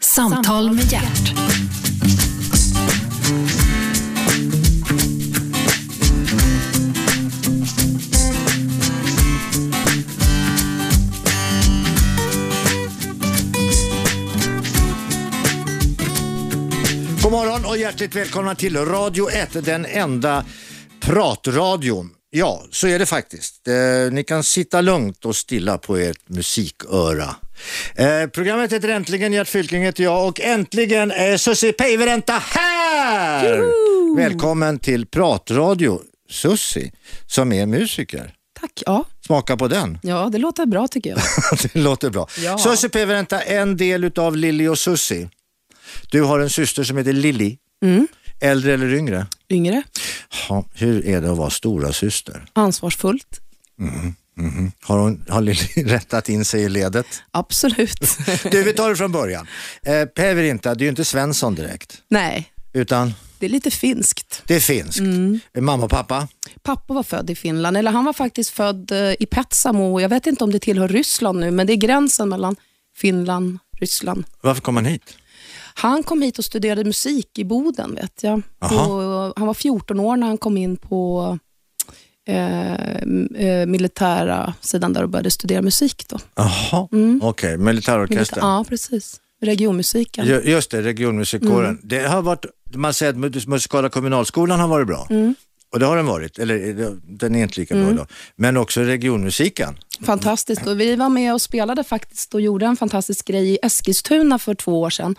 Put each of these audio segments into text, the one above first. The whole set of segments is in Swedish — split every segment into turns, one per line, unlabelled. Samtal med hjärt.
God morgon och hjärtligt välkomna till Radio 1, den enda pratradion. Ja, så är det faktiskt. Eh, ni kan sitta lugnt och stilla på ert musiköra. Eh, programmet heter Äntligen, Gert Fylking heter jag och äntligen är Susie Päivärinta här! Välkommen till pratradio, Susie, som är musiker.
Tack, ja.
Smaka på den.
Ja, det låter bra tycker jag.
det låter bra.
Ja.
Susie Päivärinta, en del utav Lilly och Susie. Du har en syster som heter Lilly. Äldre eller yngre?
Yngre,
Ja, hur är det att vara stora syster?
ansvarsfullt.
Har, hon, har Lilly rättat in sig i ledet?
Absolut.
Du, vi tar det från början. Eh, Päivärinta, det är ju inte Svensson direkt,
Nej,
utan
det är lite finskt.
det är finskt. Mamma och pappa?
Pappa var född i Finland, eller han var faktiskt född eh, i Petsamo. Jag vet inte om det tillhör Ryssland nu, men det är gränsen mellan Finland och Ryssland.
Varför kom han hit?
Han kom hit och studerade musik i Boden, vet jag.
Aha.
Och han var 14 år när han kom in på eh, m- eh, militära sidan där och började studera musik. Då.
Jaha, okej, militärorkestern.
Ja, precis. Regionmusiken.
Ju- Just det, regionmusikkåren.
Mm.
Det har varit, man säger att mus- musikala kommunalskolan har varit bra.
Mm.
Och det har den varit, eller eh, den är inte lika bra idag. Men också regionmusiken.
Fantastiskt. Och vi var med och spelade faktiskt och gjorde en fantastisk grej i Eskilstuna för två år sedan.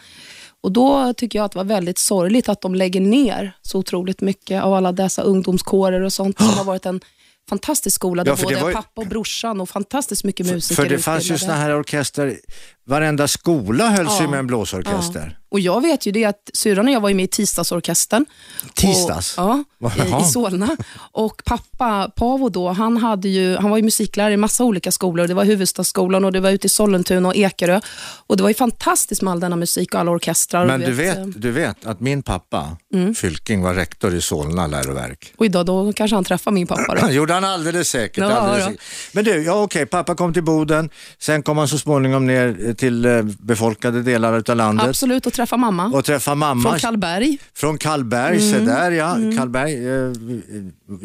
Och Då tycker jag att det var väldigt sorgligt att de lägger ner så otroligt mycket av alla dessa ungdomskårer och sånt som har varit en fantastisk skola där
Ja, för det
både
var ju-
pappa och brorsan och fantastiskt mycket musiker
För det fanns ju
utbildade.
sådana här orkester, varenda skola hölls ju
Ja.
med en blåsorkester.
Och jag vet ju det att syrran och jag var ju med i Tisdagsorkestern.
Tisdags?
Och, ja, i,
Jaha.
i Solna. Och pappa Paavo då, han, hade ju, han var ju musiklärare i massa olika skolor. Det var Huvudstadsskolan och det var ute i Sollentuna och Ekerö. Och det var ju fantastiskt med all denna musik och alla orkestrar.
Men
och eh,
du vet, du vet att min pappa,
Mm.
Fylking, var rektor i Solna läroverk.
Och idag då kanske han träffar min pappa då.
Det gjorde han alldeles säkert.
Ja,
alldeles
ja.
säkert. Men du, ja, okej, pappa kom till Boden, sen kom han så småningom ner eh, till eh, befolkade delar utav landet
Absolut, och träffa mamma.
och träffade mamma
från Karlberg.
från Karlberg. Se
Mm.
där ja, Karlberg, eh,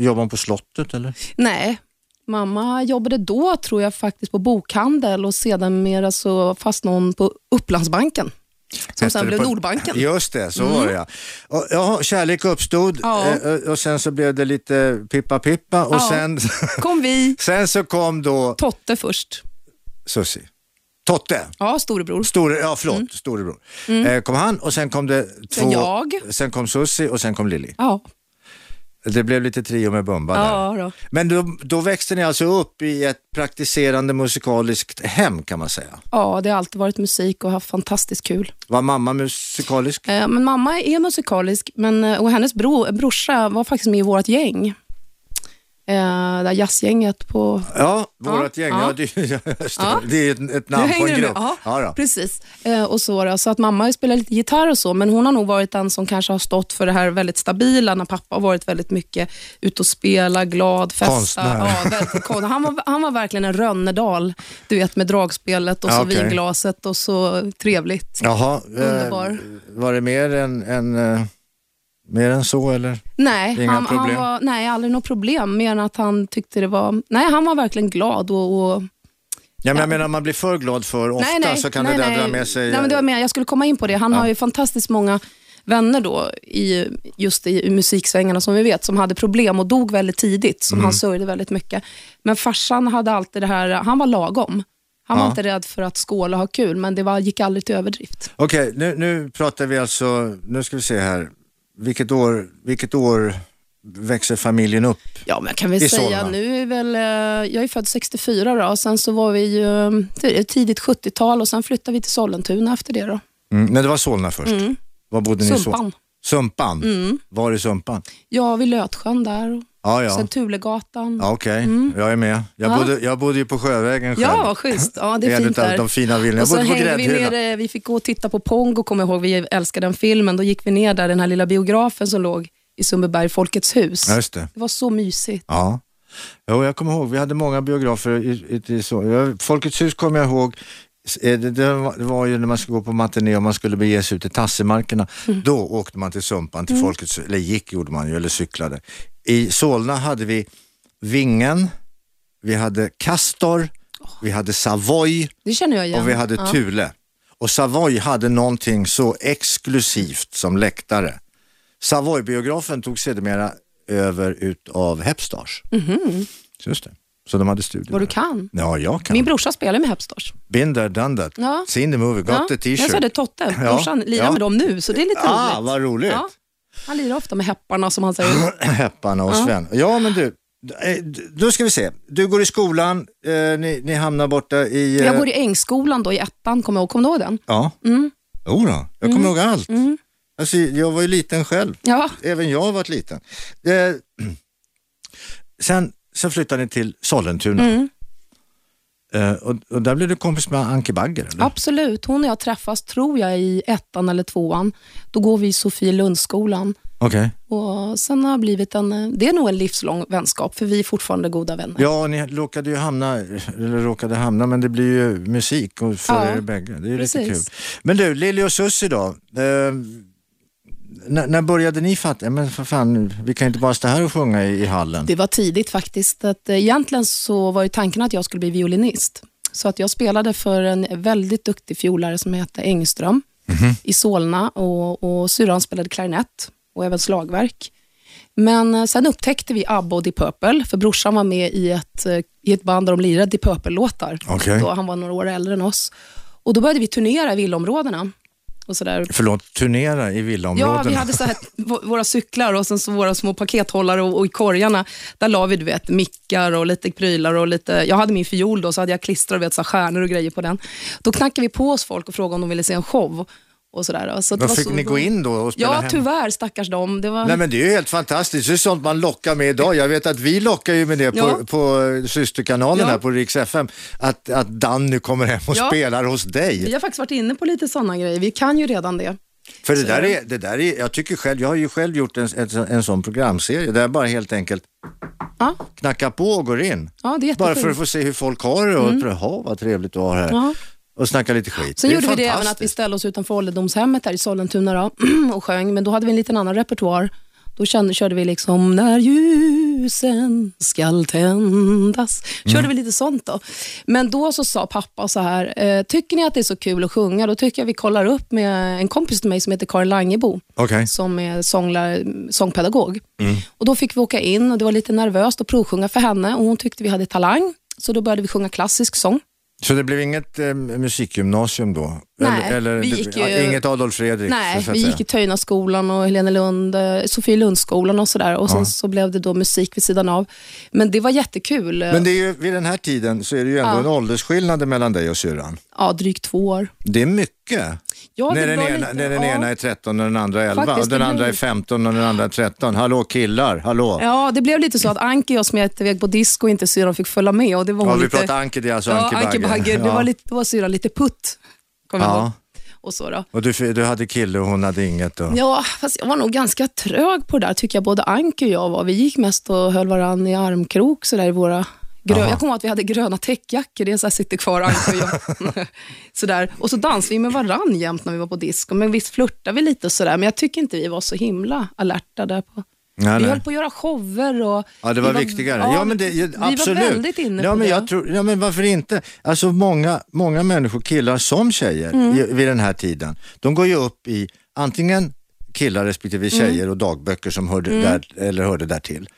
jobbar hon på slottet eller?
Nej, mamma jobbade då tror jag faktiskt på bokhandel och sedermera så fastnade hon på Upplandsbanken. Som
Hette det
sen blev
på-
Nordbanken. Mm.
Just det, så var det ja. Och, ja. Kärlek uppstod
Ja.
eh, och- och sen så blev det lite pippa-pippa och
Ja.
sen,
kom vi.
sen så kom då
Totte först.
Susi. Totte,
Ja, storebror.
store, ja, förlåt, storebror. Eh, kom han och sen kom det två,
Mm. Sen jag.
sen kom Susi och sen kom Lilly.
Ja,
Det blev lite trio med Bumba där.
ja då.
Men då, då växte ni alltså upp i ett praktiserande musikaliskt hem kan man säga.
Ja, det har alltid varit musik och haft fantastiskt kul.
Var mamma musikalisk?
Eh, Men mamma är musikalisk men, eh, och hennes bro, brorsa var faktiskt med i vårt gäng. Eh, Det där jazzgänget på...
Ja, vårat
Ja,
gäng. Ja.
ja.
det, just det.
Ja.
det är ett, ett
Nu
namn på
hänger
en
du
grupp.
med. Ja,
då.
precis. Eh, Och så, då, så att mamma har ju spelat lite gitarr och så, men hon har nog varit den som kanske har stått för det här väldigt stabila när pappa har varit väldigt mycket ute och spela, glad, festa.
Konstnär.
Ja, väldigt kon- han, var, han var verkligen en Rönnedal, du vet med dragspelet och
Ja,
så
okej.
vinglaset och så trevligt.
Jaha, eh,
Underbar.
var det mer än, än, eh, mer än så eller?
Nej,
Inga
han, han
problem.
var, nej, aldrig något problem, mer än att han tyckte det var... Nej, han var verkligen glad och... och
Ja, men Jag menar, om man blir för glad för ofta
nej, nej,
så kan
nej,
det där
nej.
dra med sig... eh,
Nej, men det var med, jag skulle komma in på det. Han har ju fantastiskt många vänner då, i, just i, i musiksvängarna som vi vet, som hade problem och dog väldigt tidigt, som
Mm.
han sörjde väldigt mycket. Men farsan hade alltid det här, han var lagom. Han var inte rädd för att skåla och ha kul, men det var, gick aldrig till överdrift.
Okej, nu, nu pratar vi alltså, nu ska vi se här. Vilket år, vilket år växer familjen upp?
Ja, men jag kan väl
I
säga,
Solna.
nu är väl, eh, jag är född 64 då, och sen så var vi ju eh, t- tidigt 70-tal och sen flyttade vi till Sollentuna efter det då.
Mm, men det var Solna först. Var bodde ni i Sol-
Sumpan. Mm.
Sumpan? Var i Sumpan?
Ja, vid Lötsjön där och
Ja, ja.
sen Tulegatan.
ja Okej, jag är med. Jag,
Mm. Ja.
bodde, jag bodde ju på Sjövägen själv.
Ja, vad schysst. Ja, det är
en
fint
utav
där.
de fina villorna. Jag
och så
bodde på
hängde vi
Gräddhyllan.
ner, eh, vi fick gå och titta på Pongo, kommer jag ihåg, vi älskade den filmen. Då gick vi ner där, den här lilla biografen som låg i Sundbyberg, Folkets hus.
Ja, just det.
Det var så mysigt.
Ja. Jo, jag kommer ihåg, vi hade många biografer i, i, i så. jag- Folkets hus kommer jag ihåg, eh, det, det var- det var ju när man skulle gå på matiné och man skulle bege sig ut i tassemarkerna.
Mm.
Då åkte man till Sumpan, till Folkets, eller gick gjorde man ju, eller cyklade. I Solna hade vi Vingen, vi hade Castor, vi hade Savoy,
Det känner jag igen.
och vi hade
ja.
Thule. Och Savoy hade någonting så exklusivt som läktare. Savoy-biografen tog sedermera över utav Hepstars. Så Just det. Så de hade studier.
Vad Mhm. du
där.
kan.
Ja, jag kan.
Min brorsa spelar med Hepstars.
Been there, done that.
Ja.
Seen the movie, got
Ja,
the t-shirt.
Jag sa det, Totte,
Ja,
brorsan, lirar
ja.
med dem nu, så det är lite
Ah,
roligt.
vad roligt.
Ja. Han lirar ofta med hepparna som han säger.
Hepparna och Sven. Ja, men du. eh, Då ska vi se. Du går i skolan, eh, ni, ni hamnar borta i... eh,
Jag går i Ängsskolan då i ettan, kommer jag ihåg. Kommer du ihåg den?
Ja.
Mm.
Jo då, jag kommer ihåg allt. Alltså, jag var ju liten själv.
Ja,
Även jag har varit liten. Eh, sen, sen flyttade ni till Sollentuna.
Mm.
Eh, och, och där blev du kompis med Anke Bagger? Eller?
absolut. Hon och jag träffas, tror jag, i ettan eller tvåan. Då går vi i Sofielundsskolan.
Okej.
Och sen har det blivit en, eh, det är nog en livslång vänskap, för vi är fortfarande goda vänner.
Ja, ni råkade ju hamna, eller råkade hamna, men det blir ju musik och för
Ja,
er bägge. Det är ju lite kul.
precis.
Men du, Lili och Susie då? Eh, när, när började ni fatta, "Ja, men för fan, vi kan ju inte bara stå här och sjunga i, i hallen?
Det var tidigt faktiskt. Att, eh, egentligen så var ju tanken att jag skulle bli violinist. Så att jag spelade för en väldigt duktig fiolare som hette Engström i Solna och, och syrran spelade klarinett och även slagverk. Men eh, sen upptäckte vi ABBA och Deep Purple, för brorsan var med i ett, eh, i ett band där de lirade Deep Purple-låtar.
Okej.
Då Han var några år äldre än oss. Och Då började vi turnera i villaområdena. Och sådär.
Förlåt, turnera i villaområdena?
Ja, vi hade så här, v- våra cyklar och sen så våra små pakethållare och, och i korgarna, där la vi du vet, mickar och lite prylar och lite, jag hade min fiol då, så hade jag klistrat du vet, så här, stjärnor och grejer på den. Då knackade vi på oss folk och frågade om de ville se en show. Och så där. Så att det
Då
var
fick
så-
ni gå in då och spela
Ja,
hemma?
tyvärr stackars dem. Det var...
Nej men det är ju helt fantastiskt, det är sånt man lockar med idag. Jag vet att vi lockar ju med det på,
Ja.
på eh, systerkanalen
Ja.
här på Rix FM, att, att Danny kommer hem och
Ja.
spelar hos dig.
Vi har faktiskt varit inne på lite sådana grejer, vi kan ju redan det.
För det där,
Så-
är, det där är, jag tycker själv, jag har ju själv gjort en, en, en sån programserie där jag bara helt enkelt
Ja,
knackar på och går in.
ja det är
Bara för
jättefint.
att få se hur folk har det och mm. jaha vad trevligt du har här.
Ja.
Och snacka lite skit.
Sen
det är
gjorde vi det även att vi
fantastiskt.
ställde oss utanför ålderdomshemmet här i Sollentuna då, och sjöng, men då hade vi en liten annan repertoar. Då kände, körde vi liksom när ljusen skall tändas.
Mm.
Körde vi lite sånt då. Men då så sa pappa så här, eh, tycker ni att det är så kul att sjunga, då tycker jag vi kollar upp med en kompis till mig som heter Karin Langebo
Okej.
som är sångla, sångpedagog.
Mm.
Och Då fick vi åka in och det var lite nervöst att provsjunga för henne och hon tyckte vi hade talang. Så då började vi sjunga klassisk sång.
Så det blev inget eh, musikgymnasium då?
Nej,
eller, eller,
vi
det-
gick
ja,
ju-
Inget Adolf Fredrik?
Nej,
så att
vi
säga.
gick i Töjnaskolan och Helenelund, eh, Sofielundsskolan och sådär. Och sen så blev det då musik vid sidan av. Men det var jättekul.
Men det är ju, vid den här tiden så är det ju ändå en åldersskillnad mellan dig och syrran.
eh, Ja, drygt två år.
Det är mycket.
Ja,
när
det
den,
var
ena,
lite-
när den
ja.
ena är 13 och den andra är 11 och
Faktiskt,
den
det
andra
blir-
är 15 och den andra är 13. Hallå killar, hallå.
Ja, det blev lite så att Anki och jag smet iväg på disco och inte syrran fick följa med. Och det var
Ja,
hon
vi
lite...
pratar Anki, det är alltså Anki
ja,
Bagge.
Anki Bagger. Det
Ja.
var, lite, då var syrran lite putt, kommer jag
Ja.
ihåg. Och så då.
Och du, du hade kille och hon hade inget. Och...
Ja, fast jag var nog ganska trög på det där tycker jag. Både Anki och jag var. Vi gick mest och höll varandra i armkrok så där i våra grö-
Jaha.
Jag kommer ihåg att vi hade gröna täckjackor, det är så här sitter kvar Anki och jag. sådär. Och så dansade vi med varandra jämt när vi var på disco, men visst flörtade vi lite och sådär, men jag tycker inte vi var så himla alerta där på.
Nej,
vi
nej.
höll på att göra shower och...
Ja, det var,
vi
viktigare. Ja, men det, ju,
vi
absolut.
var väldigt inne
ja,
på
men
det.
Jag tror, ja, men varför inte? Alltså många, många människor, killar som tjejer,
Mm.
i, vid den här tiden, de går ju upp i antingen killar respektive
Mm.
tjejer och dagböcker som hörde, där, eller hörde där till.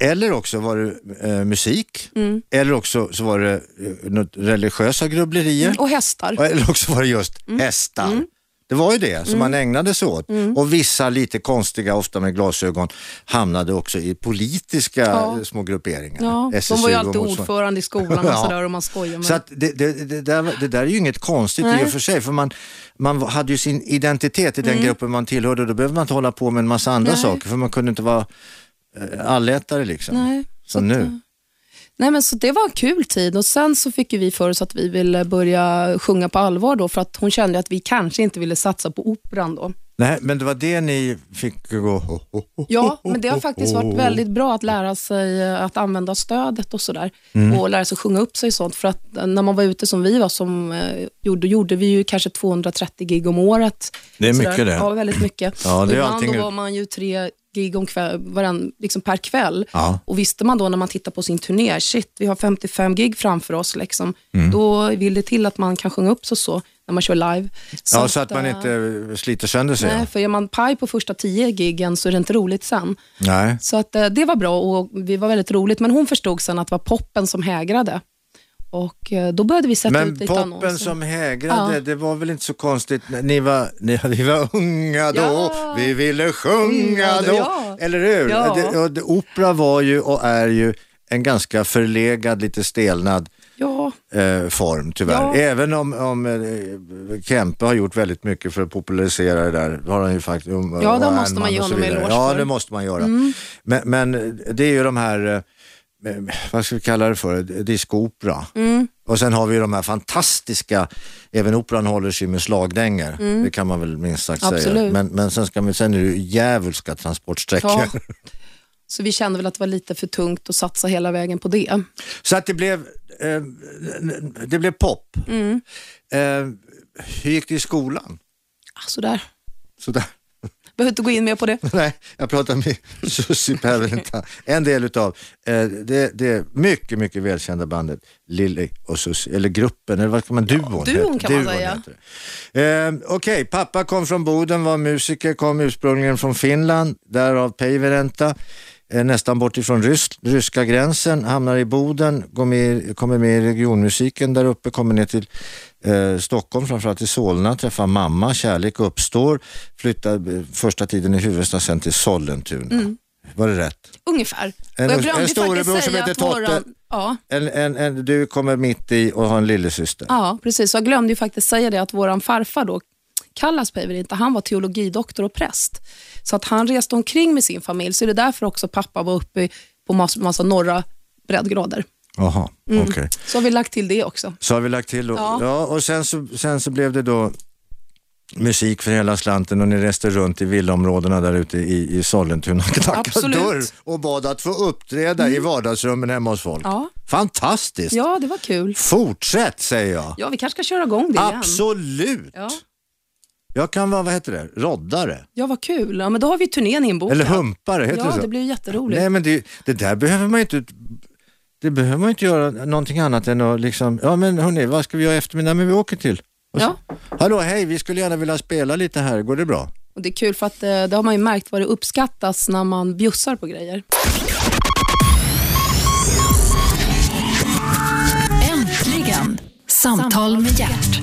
Eller också var det eh, musik,
Mm.
eller också så var det eh, något religiösa grubblerier.
Mm, Och hästar.
Och Eller också var det just
Mm.
hästar. Det var ju det som man ägnade sig åt. Och vissa lite konstiga, ofta med glasögon, hamnade också i politiska
Ja.
eh, små grupperingar.
Ja, de var
SSU
ju
och
alltid
motsvarande.
ordförande i skolan och
Ja.
sådär och man skojar med
Så att det, det, det, där, det där är ju inget konstigt i
Nej. Mm.
och för sig, för man, man hade ju sin identitet i den gruppen man tillhörde och då behövde man inte hålla på med en massa andra
Nej.
saker, för man kunde inte vara eh, allätare liksom.
Nej, så eh.
Som nu.
Nej, men så det var en kul tid och sen så fick ju vi för oss att vi ville börja sjunga på allvar då för att hon kände att vi kanske inte ville satsa på operan då.
Nej, men det var det ni fick gå...
Ja, men det har faktiskt varit väldigt bra att lära sig eh, att använda stödet och sådär.
Mm.
Och lära sig sjunga upp sig och sånt. För att eh, när man var ute som vi var, som eh, gjorde, gjorde vi ju kanske 230 gig om året.
Det är
Sådär.
mycket det.
Ja, väldigt mycket.
Ja, det är
Ibland
allting-
då var man ju tre gig om kväll, varann, liksom per kväll.
Ja.
Och visste man då när man tittar på sin turné, shit, vi har 55 gig framför oss, liksom.
Mm.
då vill det till att man kan sjunga upp sig så när man kör live.
Ja, så att man
eh,
inte sliter sönder sig.
Nej, för gör man paj på första tio giggen så är det inte roligt sen.
Nej.
Så att, eh, det var bra och vi var väldigt roligt, men hon förstod sen att det var poppen som hägrade. Och eh, då började vi sätta ut
Men
lite
poppen
annonser.
som hägrade,
Ja.
det var väl inte så konstigt. Ni var, ni, vi var unga då,
Ja.
vi ville sjunga
Unga
då.
då, ja.
Eller hur?
Ja.
Det, och det, opera var ju och är ju en ganska förlegad, lite stelnad
Ja,
eh, form tyvärr.
Ja.
Även om, om eh, Kempe har gjort väldigt mycket för att popularisera det där. Har han ju faktiskt, um,
det
och
måste
Ernman
man ge
och så
honom en
vidare.
eloge
Ja,
för. Mm.
det måste man göra. Men, men det är ju de här, eh, eh, vad ska vi kalla det för, discoopera.
Mm.
Och sen har vi ju de här fantastiska, även operan håller sig med slagdänger. Det kan man väl minst sagt säga.
Mm. Absolut.
Men, men sen, ska man, sen är det ju djävulska transportsträckor.
ja. Så vi kände väl att det var lite för tungt att satsa hela vägen på det.
Så att det blev, eh, det blev pop.
Mm.
Eh, hur gick det i skolan?
Alltså där.
Sådär.
Behöver inte gå in mer på det.
Nej, jag pratar med Susie Päivärinta. En del utav eh, det, det mycket, mycket välkända bandet Lilly och Susie, eller gruppen, eller vad ska man, duon?
duon
heter-
kan man säga.
heter det. Eh, Okej, pappa kom från Boden, var musiker, kom ursprungligen från Finland, därav Päivärinta. Eh, nästan bort ifrån rys ryska gränsen, hamnar i Boden, går med, kommer med i regionmusiken där uppe, kommer ner till eh, Stockholm, framförallt i Solna, träffar mamma, kärlek uppstår, flyttar eh, första tiden i huvudstaden, sen till Sollentuna. Var det rätt?
Ungefär.
En-
och Mm. jag
en
glömde
storebror
faktiskt
som
säga
heter
att våran...
Totte.
Ja,
En, en, en, du kommer mitt i och har en lillasyster.
ja, precis. Så jag glömde ju faktiskt säga det att vår farfar då, Kallas inte, han var teologidoktor och präst. Så att han reste omkring med sin familj, så det är därför också pappa var uppe i- på massa, massa norra breddgrader.
Jaha,
Mm.
okej.
Så har vi lagt till det också.
Så har vi lagt till. Och, ja.
Ja.
och sen, så, sen så blev det då musik för hela slanten och ni reste runt i villaområdena där ute i, i Sollentuna och knackade
Absolut. Mm.
dörr och bad att få uppträda i vardagsrummen hemma hos folk.
Ja.
Fantastiskt!
Ja, det var kul.
Fortsätt säger jag.
Ja, vi kanske ska köra igång det igen.
Absolut!
Ja.
Jag kan vara, vad heter det, roddare
ja, vad kul. Ja, men då har vi turnén inbokad.
eller humpare, heter det
Ja,
så?
det blir ju jätteroligt.
Nej men det, det där behöver man ju inte det behöver man ju inte göra någonting annat än att liksom, ja men hörni, vad ska vi göra i eftermiddag men vi åker till? Och så, Hallå, hej, vi skulle gärna vilja spela lite här, går det bra?
Och det är kul för att eh, det har man ju märkt vad det uppskattas när man bjussar på grejer.
Äntligen! Samtal med hjärt.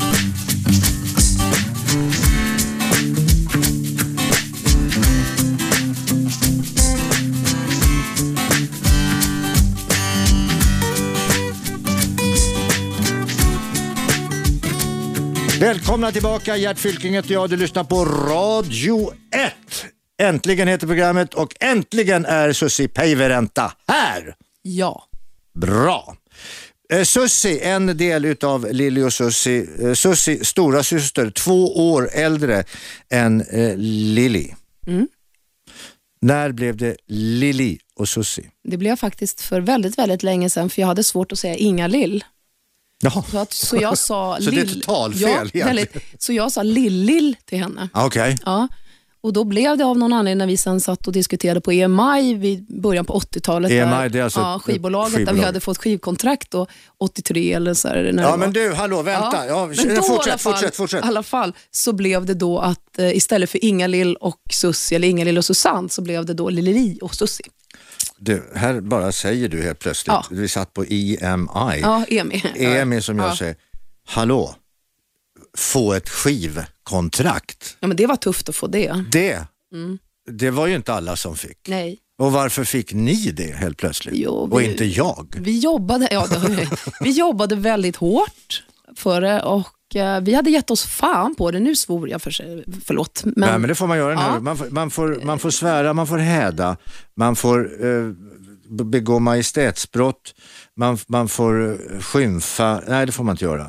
Välkomna tillbaka, Gert Fylking heter jag, du lyssnar på Radio 1. Äntligen heter programmet och äntligen är Susi Päivärinta här.
Ja.
Bra. Eh, Sussi, en del utav Lilly och Sussi. Eh, Sussi, stora syster, två år äldre än eh, Lilly.
Mm.
När blev det Lilly och Sussi?
Det blev jag faktiskt för väldigt, väldigt länge sedan för jag hade svårt att säga Inga-Lill.
Jaha,
Så, att, så jag sa
Så det är
Lill-
totalfel egentligen.
ja, väldigt, Så jag sa Lill-Lill till henne.
Ah, okej.
Ja. Och då blev det av någon anledning när vi sen satt och diskuterade på EMI vid början på 80-talet. där-
EMI, det är alltså
ja,
ett-
skivbolaget, där
skivbolag.
vi hade fått skivkontrakt då, 83 eller så här, när det
Ja
var.
men du, hallå, vänta. Ja,
men då i alla
fortsätt,
fall,
fortsätt, fortsätt.
I alla fall så blev det då att eh, istället för Inga-Lill och Sussi, eller Inga-Lill och Susanne, så blev det då Lili och Sussi.
Du, här bara säger du helt plötsligt.
Ja.
Vi satt på E EMI.
Ja, EMI.
EMI som jag
ja.
säger. Hallå, få ett skivkontrakt.
Ja, men det var tufft att få det.
Det,
Mm.
det var ju inte alla som fick.
Nej.
Och varför fick ni det helt plötsligt?
Jo,
Och
vi-
inte jag?
Vi jobbade, ja, det har vi, vi jobbade väldigt hårt för det och eh, vi hade gett oss fan på det. Nu svor jag för sig, förlåt. Men,
Nej men det får man göra. den här.
Ja.
Man, får, man, får, man får svära, man får häda, man får eh, be- begå majestätsbrott, man, man får eh, skymfa, nej det får man inte göra.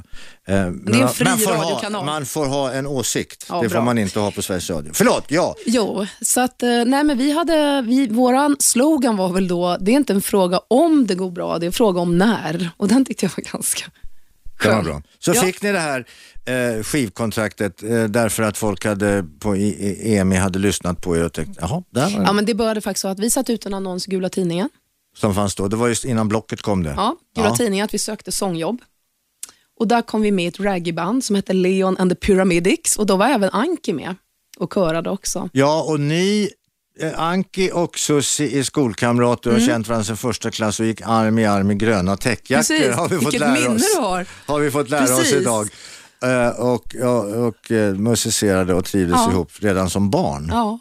Eh, men
är en
man-
fri
man får
radiokanal.
Ha, man får ha en åsikt,
Ja,
det
bra.
får man inte ha på Sveriges Radio. Förlåt, ja.
Jo, så att, eh, nej men vi hade, vi, våran slogan var väl då, det är inte en fråga om det går bra, det är en fråga om när. Och den tyckte jag var ganska
Det var
skön.
bra. Så
Ja.
fick ni det här eh, skivkontraktet eh, därför att folk hade på I- I- EMI hade lyssnat på er och tänkt, jaha, där var det.
Ja, men det började faktiskt så att vi satte ut en annons i Gula Tidningen.
Som fanns då, det var just innan Blocket kom det.
Ja, Gula Tidningen, att vi sökte sångjobb. Och där kom vi med i ett raggyband som hette Leon and the Pyramidics och då var även Anki med och körade också.
Ja, och ni, eh, Anki och Susi är skolkamrater
Mm.
och har känt varandra sedan första klass och gick arm i arm i gröna täckjackor.
Precis,
har vi fått
vilket
lära
minne
oss.
du har.
Har vi fått lära oss
Precis.
idag. Eh, och och, och eh, musicerade och trivdes
Ja.
ihop redan som barn.
Ja,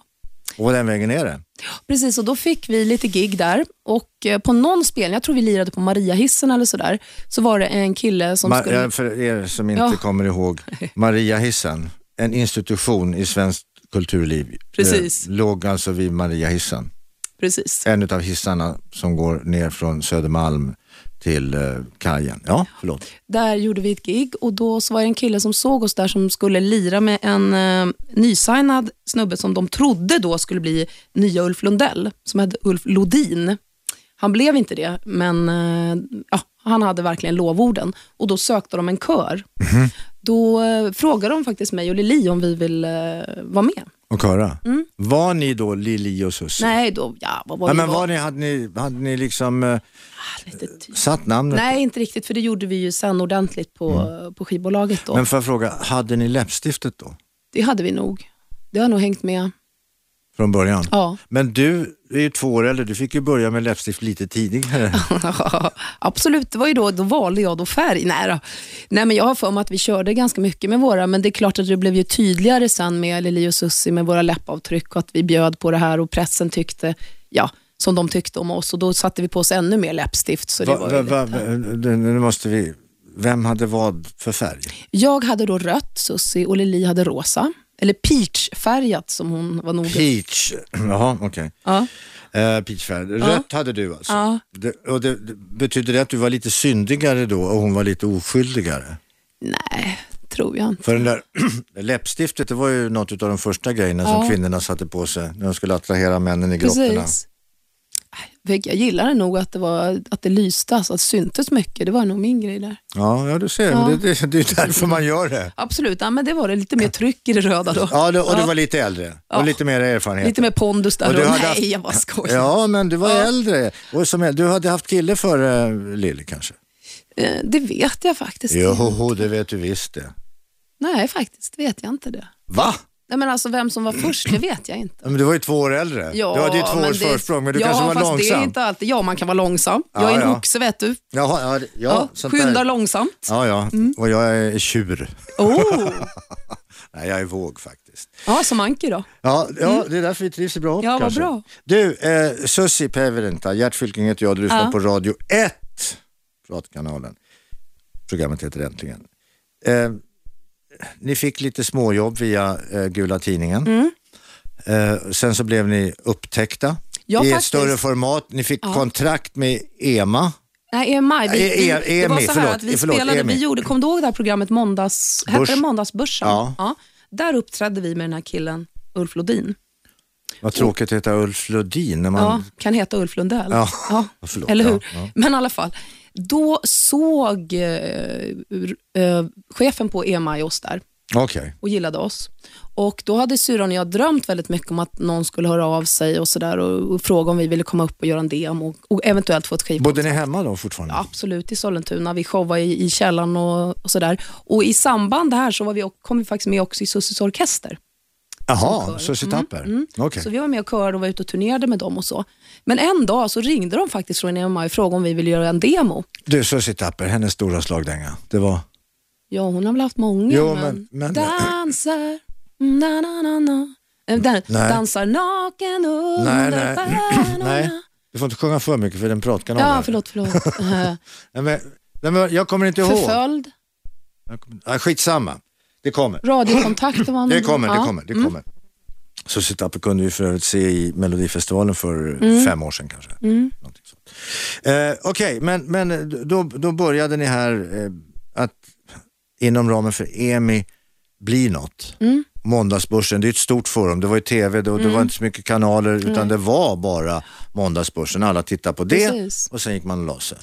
Och den vägen är det.
Precis, och då fick vi lite gig där och eh, på någon spelning, jag tror vi lirade på Mariahissen eller sådär, så var det en kille som
Ma-
skulle...
eh, För er som inte
Ja.
kommer ihåg, Maria Hissen, en institution i svenskt kulturliv,
Precis.
eh, låg alltså vid Maria Hissen.
Precis.
En av hissarna som går ner från Södermalm till eh, kajen. Ja, förlåt.
Där gjorde vi ett gig och då så var det en kille som såg oss där som skulle lira med en eh, nysignad snubbe som de trodde då skulle bli nya Ulf Lundell, som hette Ulf Lodin. Han blev inte det, men eh, ja, han hade verkligen lovorden. Och då sökte de en kör.
Mhm.
Då eh, frågade de faktiskt mig och Lili om vi ville eh, vara med.
Och köra. Var ni då Lili och Susie?
Mm. Nej, då, ja, vad var
Nej,
vi
men
var?
var ni, hade ni, hade ni liksom eh,
Lite tyst.
satt namnet?
Nej, inte riktigt, för det gjorde vi ju sen ordentligt på, på skivbolaget. Då.
Mm. Men får jag fråga, hade ni läppstiftet då?
Det hade vi nog. Det har nog hängt med.
Från början?
Ja.
Men du är ju två år äldre, du fick ju börja med läppstift lite tidigare.
Absolut, det var ju då, då valde jag då färg. Nej, då. Nej, men jag har för mig att vi körde ganska mycket med våra, men det är klart att det blev ju tydligare sen med Lili och Susi med våra läppavtryck och att vi bjöd på det här och pressen tyckte, ja, som de tyckte om oss och då satte vi på oss ännu mer läppstift. Så det
Va,
var
va,
ju
va,
lite-
nu nu måste vi, vem hade vad för färg?
Jag hade då rött, Susi och Lili hade rosa. Eller peachfärgat som hon var noga
Peach, jaha okej.
Ja.
Eh, peachfärg, rött hade du alltså?
Ja.
Det, och det, det, betyder det att du var lite syndigare då och hon var lite oskyldigare?
Nej, tror jag inte.
För den där läppstiftet, det var ju något av de första grejerna som
Ja.
kvinnorna satte på sig när de skulle attrahera männen i grottorna.
Precis. Nej, Jag gillade nog att det, var, att det lyste, alltså att det syntes mycket. Det var nog min grej där.
Ja, ja du ser, men det, det, det är ju därför man gör det.
Absolut, ja, men det var det. Lite mer tryck i det röda då.
Ja, du, och du var lite äldre och
Ja.
lite mer erfarenhet.
Lite mer pondus där.
Och
Och
du hade haft-
Nej, jag bara skojar.
Ja, men du var äldre. Och som, äldre- du hade haft kille före eh, Lilly kanske?
Eh, Det vet jag faktiskt inte.
Joho, det vet du visst det.
Nej, faktiskt vet jag inte det.
Va?
Nej, men alltså vem som var först, det vet jag inte.
Ja, Men du var ju två år äldre. du hade ju två års försprång, men du
ja,
kanske var
fast det är
långsam.
inte alltid. Ja, man kan vara långsam. jag
Ja,
är en
ja.
oxe, vet du.
Jaha, ja, det- ja,
Ja, Mm.
sånt där.
skyndar långsamt.
Ja, ja. Och jag är tjur.
Oh.
Nej, jag är våg faktiskt.
Ja, som Anki då.
Ja, ja det är därför vi trivs så bra ihop,
Mm. Ja, vad
kanske.
bra.
Du, eh, Susi Päivärinta, Gert Fylking heter jag, du lyssnar
Ja.
på Radio 1, Pratkanalen. Programmet heter Äntligen. Eh, ni fick lite småjobb via eh, Gula Tidningen.
Mm.
Eh, sen så blev ni upptäckta
Ja,
i ett
faktiskt.
större format. Ni fick kontrakt med E EMA.
Nej, EMI. Vi,
Eh, eh,
vi, det var
EMI,
så här
förlåt,
att vi
förlåt,
spelade,
EMI.
vi gjorde, kom du ihåg det här programmet Måndags,
Börs.
hette det Måndagsbörsen?
Ja.
Där uppträdde vi med den här killen Ulf Lodin.
Vad tråkigt att heta Ulf Lodin när man...
Ja, kan heta Ulf Lundell.
Ja, förlåt,
eller
ja,
hur? Men i alla fall, då såg eh, ur- eh, chefen på EMI oss där
Okej.
och gillade oss. Och Då hade syrran och jag drömt väldigt mycket om att någon skulle höra av sig och, så där, och, och fråga om vi ville komma upp och göra en demo och, och eventuellt få ett skivkontrakt.
Bodde ni hemma då fortfarande?
Absolut, i Sollentuna. Vi showade i, i källaren och, och sådär. Och i samband här så var vi, och- kom vi faktiskt med också i Sussis orkester.
Jaha, Susie Tapper.
Mm,
Okej.
Så vi var med och körade och var ute och turnerade med dem och så. Men en dag så ringde de faktiskt från EMI och frågade om vi ville göra en demo.
Du, Susie Tapper, hennes stora slagdänga, det var...
Ja, hon har väl haft många.
Jo, men- men-
Dansar, Mm, na na na na. Eh, Där,
Nej.
dansar naken under stjärnorna.
nej. Du får inte sjunga för mycket för den pratkanalen.
Ja, förlåt, förlåt. Eh,
Nej, men, nej, men jag kommer inte ihåg.
Förföljd,
Jag kommer- Ah, skitsamma, det kommer.
radiokontakter var
Det kommer, det
Ja. Mm.
kommer, det kommer. Susie Tapper kunde vi för övrigt se i Melodifestivalen för
Mm.
fem år sedan kanske. Någonting sånt. Eh, Okej, men, men då, då började ni här eh, att inom ramen för EMI bli något.
Mm.
Måndagsbörsen, det är ett stort forum. Det var ju tv, det, det var inte så mycket kanaler utan det var bara Måndagsbörsen. Alla tittade på det
Precis.
och sen gick man och la sig.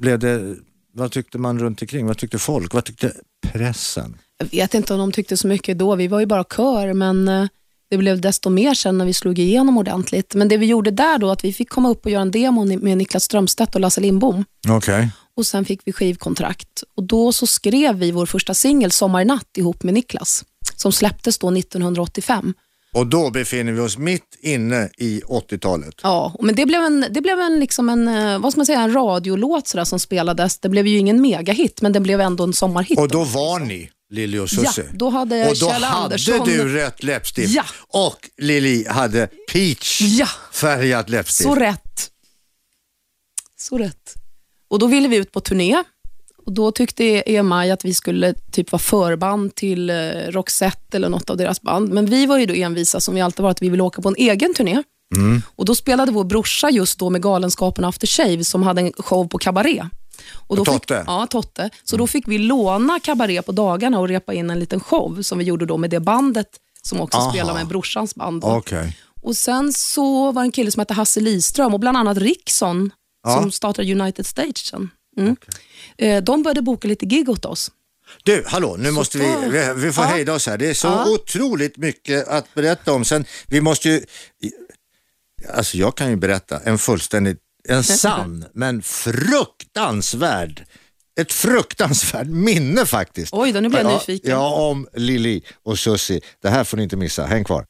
Blev det, vad tyckte man runt omkring? Vad tyckte folk? Vad tyckte pressen?
Jag vet inte om de tyckte så mycket då. Vi var ju bara kör, men eh, det blev desto mer sen när vi slog igenom ordentligt. Men det vi gjorde där då, att vi fick komma upp och göra en demo ni- med Niklas Strömstedt och Lasse Lindbom.
Okej.
Och sen fick vi skivkontrakt. Och då så skrev vi vår första singel, Sommarnatt, ihop med Niklas. Som släpptes då 1985.
Och då befinner vi oss mitt inne i 80-talet.
Ja, men det blev en, det blev en, liksom en, eh, vad ska man säga, en radiolåt sådär som spelades. Det blev ju ingen megahit, men den blev ändå en sommarhit.
Och då var ni Lili och Susie.
Ja, då hade
och då
Kjell
hade
Andersson-
du rött läppstift.
Ja.
Och Lili hade peach
Ja.
färgat läppstift.
Så rätt. Så rätt. Och då ville vi ut på turné. Och Då tyckte EMI att vi skulle typ vara förband till eh, Roxette eller något av deras band. Men vi var ju då envisa som vi alltid varit, att vi ville åka på en egen turné.
Mm.
Och Då spelade vår brorsa just då med Galenskapen After Shave som hade en show på Cabaret. Och då
Totte? Mm.
Fick, ja, Totte. Så då fick vi låna Cabaret på dagarna och repa in en liten show som vi gjorde då med det bandet som också
Aha.
spelade med brorsans band. då.
Okej.
Och Sen så var det en kille som hette Hasse Liström och bland annat Rickson
Ja.
som startade United Stage sen. Mm. Eh, De började boka lite gig åt oss.
Du, hallå, nu måste vi,
fan.
vi, vi får
Ja.
hejda oss här. Det är så
Ja.
otroligt mycket att berätta om. Sen, vi måste ju, alltså jag kan ju berätta en fullständigt, en sann men fruktansvärd, ett fruktansvärt minne faktiskt.
Oj då, nu blir jag
ja,
nyfiken.
Ja, om Lili och Susie. Det här får ni inte missa, häng kvar.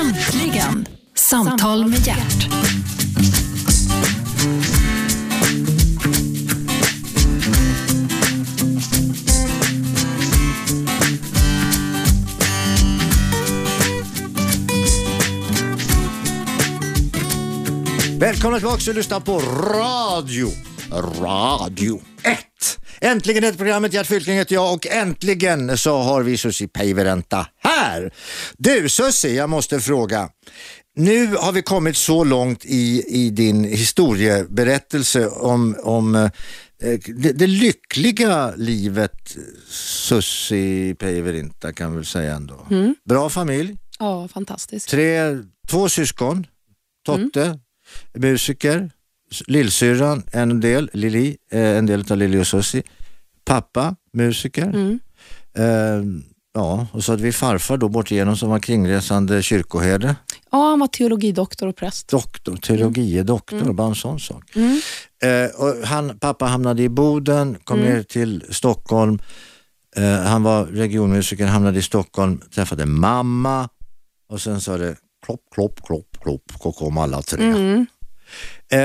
Äntligen! Samtal med hjärt.
Välkomna tillbaka och lyssna på radio. Radio 1. Äntligen ett programmet Gert Fylking heter jag och äntligen så har vi Susi Päiveränta här. Du Susi, jag måste fråga. Nu har vi kommit så långt i, i din historieberättelse om, om eh, det, det lyckliga livet Susi Päiveränta kan vi väl säga ändå. Bra familj,
Ja, fantastiskt.
tre, två syskon, Totte, musiker, s- lillsyrran en del, Lili, eh, en del av Lili och Susie, pappa, musiker. Eh, ja, och så hade vi farfar då bort igenom som var kringresande kyrkoherde,
Ja, han var teologidoktor och präst.
doktor, teologidoktor, bara en sån sak. Eh, och han, pappa hamnade i Boden, kom ner till Stockholm, eh, han var regionmusiker, hamnade i Stockholm, träffade mamma och sen sa det klopp, klopp, klopp, klopp, och kom alla tre. Eh,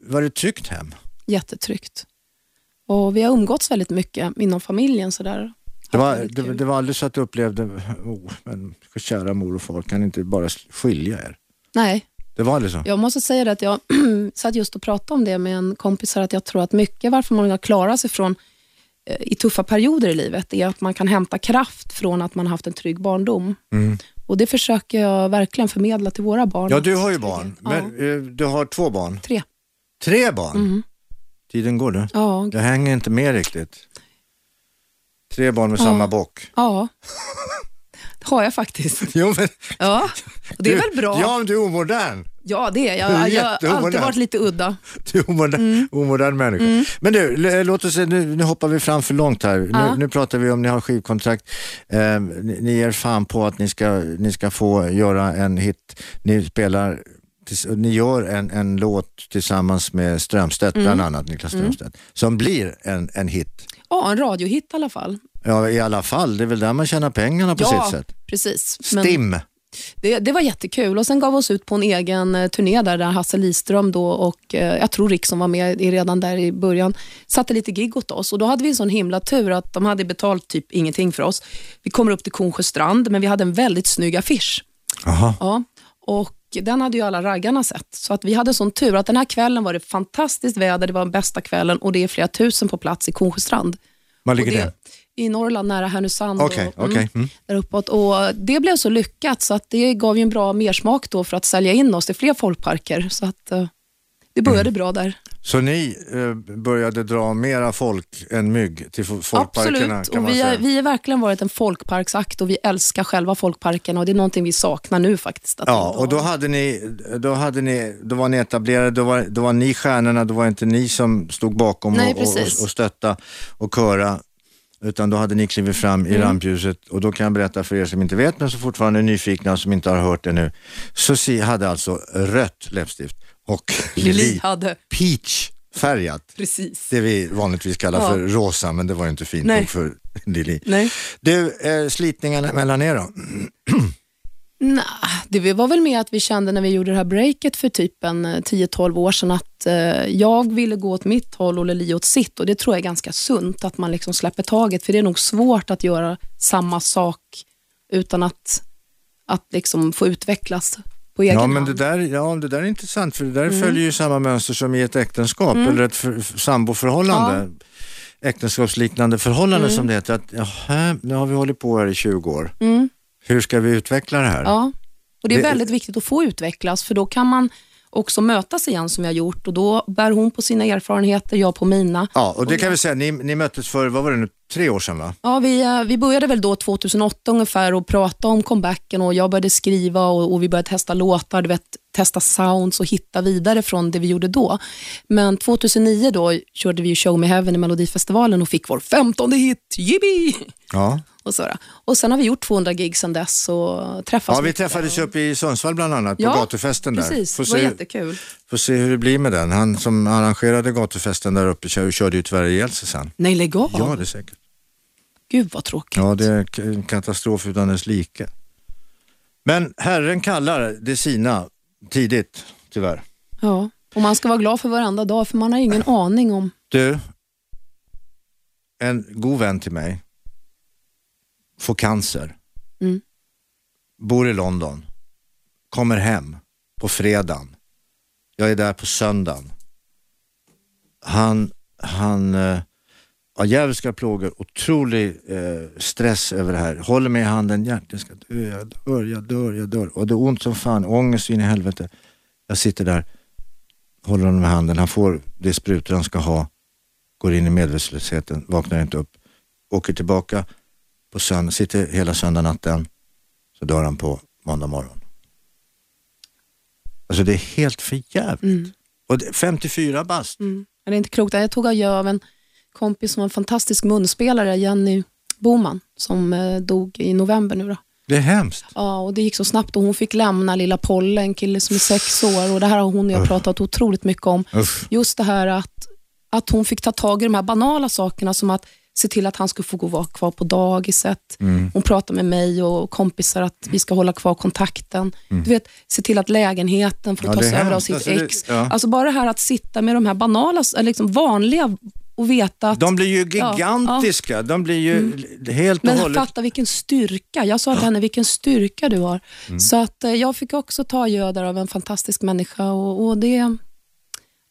var det ett tryggt hem?
Jättetryggt. Och vi har umgåtts väldigt mycket inom familjen. Sådär.
Det
Haft
var,
väldigt
det,
kul.
det var aldrig så att du upplevde, oh, men kära mor och far, kan ni inte bara skilja er?
Nej,
Det var aldrig så?
jag måste säga det att jag satt just och pratade om det med en kompis här, att jag tror att mycket varför man har klarat sig från eh, i tuffa perioder i livet är att man kan hämta kraft från att man har haft en trygg barndom. Och Det försöker jag verkligen förmedla till våra barn.
Mm. Ja, du har ju barn,
Ja.
men eh, du har två barn.
Tre.
Tre barn?
Mm.
Tiden går du.
Ja,
Jag hänger inte med riktigt. Tre barn med samma bock.
ja. det har jag faktiskt.
Jo, men,
Ja, och det är väl bra.
Ja, men du är omodern.
Ja, det är
Du är
jag. Jag har
jätteomodern.
alltid varit lite udda.
Du är omodern,
Mm.
omodern människa. Men du, l- låt oss, se, nu, nu hoppar vi fram för långt här. Nu, nu pratar vi om ni har skivkontrakt. Eh, ni, ni ger fan på att ni ska, ni ska få göra en hit. Ni spelar tills- ni gör en, en låt tillsammans med
Mm.
Strömstedt, bland annat Niklas Strömstedt, som blir en, en hit.
Ja, en radiohit i alla fall.
Ja, i alla fall. Det är väl där man tjänar pengarna på
ja,
sitt sätt.
precis. Men-
Stim.
Det, det var jättekul och sen gav vi oss ut på en egen eh, turné där, där Hasse Liström då och eh, jag tror Rick som var med i, redan där i början satte lite gig åt oss och då hade vi en sån himla tur att de hade betalt typ ingenting för oss. Vi kommer upp till Kornsjöstrand men vi hade en väldigt snygg affisch.
Aha.
Ja, och den hade ju alla raggarna sett. Så att vi hade sån tur att den här kvällen var det fantastiskt väder, det var den bästa kvällen och det är flera tusen på plats i Kornsjöstrand.
Var ligger
Och
det?
i Norrland nära Härnösand.
Okej,
och,
okej, mm.
Där uppåt. Och det blev så lyckat så att det gav ju en bra mersmak då för att sälja in oss till fler folkparker. Så att, eh, det
Mm.
började bra där.
Så ni eh, började dra mera folk än mygg till fo- folkparkerna?
Absolut,
kan
och
man
vi, har,
säga.
vi har verkligen varit en folkparksakt och vi älskar själva folkparkerna och det är någonting vi saknar nu faktiskt. Att
Ja,
inte
och då
ha-
hade ni, då hade ni, då var ni etablerade, då var, då var ni stjärnorna, då var inte ni som stod bakom
Nej,
och, och,
precis.
och stötta och köra. Utan då hade ni klivit fram i
Mm.
rampljuset och då kan jag berätta för er som inte vet men som fortfarande är nyfikna och som inte har hört det nu. Susie hade alltså rött läppstift och
Lili
Lili
hade,
peachfärgat.
precis.
Det vi vanligtvis kallar
Ja.
för rosa men det var ju inte fint
Nej.
nog för Lili.
Nej.
Du, eh, slitningarna mellan er då?
Nej, det var väl mer att vi kände när vi gjorde det här breaket för typ en eh, 10-12 år sedan att eh, jag ville gå åt mitt håll och Lili åt sitt och det tror jag är ganska sunt att man liksom släpper taget för det är nog svårt att göra samma sak utan att, att liksom få utvecklas på egen
Ja, men
hand. Mm.
det där, ja, det där är intressant för det där följer ju samma mönster som i ett äktenskap eller ett för, f- samboförhållande. Äktenskapsliknande förhållande
Mm.
som det heter. Att, jaha, nu har vi hållit på här i 20 år. Hur ska vi utveckla det här?
Mm. Ja, och det är
Det-
väldigt viktigt att få utvecklas för då kan man också mötas igen som vi har gjort och då bär hon på sina erfarenheter, jag på mina.
Ja, och det kan vi säga, ni, ni möttes för, vad var det nu, tre år sedan va?
Ja, vi, eh, vi började väl då 2008 ungefär och prata om comebacken och jag började skriva och, och vi började testa låtar, du vet, testa sounds och hitta vidare från det vi gjorde då. Men 2009 då körde vi ju Show Me Heaven i Melodifestivalen och fick vår femtonde hit, Jibby!
Ja,
Och, så, då. och sen har vi gjort 200 gig sedan dess och träffats
ja vi
mycket.
träffades ju uppe i Sundsvall bland annat på
Alltså, Ja,
gatufesten där.
Precis,
Får
det var
se-
jättekul.
Får se hur det blir med den. Han som arrangerade gatufesten där uppe kör- körde ju tyvärr ihjäl sig sen.
Nej, lägg av.
Ja, det är säkert.
Gud vad tråkigt.
Ja, det är k- en katastrof utan dess like. Men Herren kallar det sina tidigt, tyvärr.
Ja. Och man ska vara glad för varenda dag för man har ingen aning om...
Du, en god vän till mig får cancer,
Mm.
bor i London, kommer hem på fredagen. Jag är där på söndagen. Han, han eh, har djävulska plågor, otrolig eh, stress över det här. Håller mig i handen, hjärtat, jag ska dö, jag dör, jag dör, jag dör. Och det är ont som fan, ångest in i helvete. Jag sitter där, håller honom i handen, han får det sprutor han ska ha, går in i medvetslösheten, vaknar inte upp, åker tillbaka, på sönd- sitter hela söndag natten, så dör han på måndag morgon. Alltså det är helt för jävligt. Och det- 54 bast.
Mm. Det är inte klokt. Jag tog adjö av en kompis som var en fantastisk munspelare, Jenny Boman, som eh, dog i november nu. Då.
Det är hemskt.
Ja, och det gick så snabbt och hon fick lämna lilla Polle, en kille som är sex år. Och det här har hon och jag pratat otroligt mycket om.
Uff.
Just det här att, att hon fick ta tag i de här banala sakerna som att se till att han skulle få gå och vara kvar på dagiset.
Mm.
Hon pratade med mig och kompisar att vi ska hålla kvar kontakten. Du vet, se till att lägenheten får
Mm. Ja, det
tas
är
över av
hemskt.
sitt
Alltså, det-
ex.
ja.
Alltså bara det här att sitta med de här banala, eller liksom vanliga och veta att
De blir ju
Ja, Mm.
gigantiska. De blir ju helt och
men
hållet...
fatta vilken styrka. Jag sa till henne, vilken styrka du har.
Mm.
Så att eh, jag fick också ta gödar av en fantastisk människa och, och det,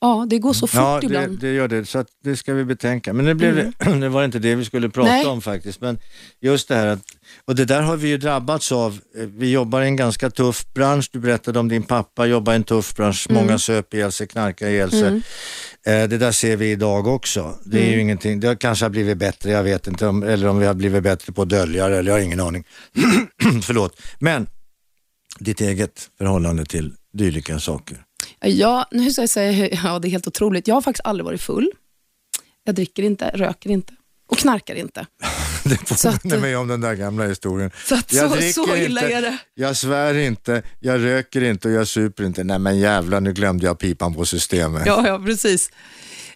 ja, det går så fort
Mm. Ja, det,
ibland. Mm.
det gör det. Så att det ska vi betänka. Men nu, blev det, nu var det inte det vi skulle prata
Nej.
om faktiskt. Men just det här att, och det där har vi ju drabbats av. Eh, Vi jobbar i en ganska tuff bransch. Du berättade om din pappa jobbar i en tuff bransch.
Mm.
Många söp ihjäl sig, knarkar ihjäl sig. Eh, Det där ser vi idag också. Det är
Mm.
ju ingenting, det har kanske har blivit bättre, jag vet inte om, eller om vi har blivit bättre på att dölja det, eller jag har ingen aning. Förlåt. Men ditt eget förhållande till dylika saker.
Ja, nu ska jag säga, ja, det är helt otroligt. Jag har faktiskt aldrig varit full. Jag dricker inte, röker inte och knarkar inte.
Det
Så att-
påminner mig om den där gamla historien.
Så att så-
dricker
så illa
inte,
är det.
Jag svär inte, jag röker inte och jag super inte. Nej men jävlar, nu glömde jag pipan på systemet.
Ja, ja precis.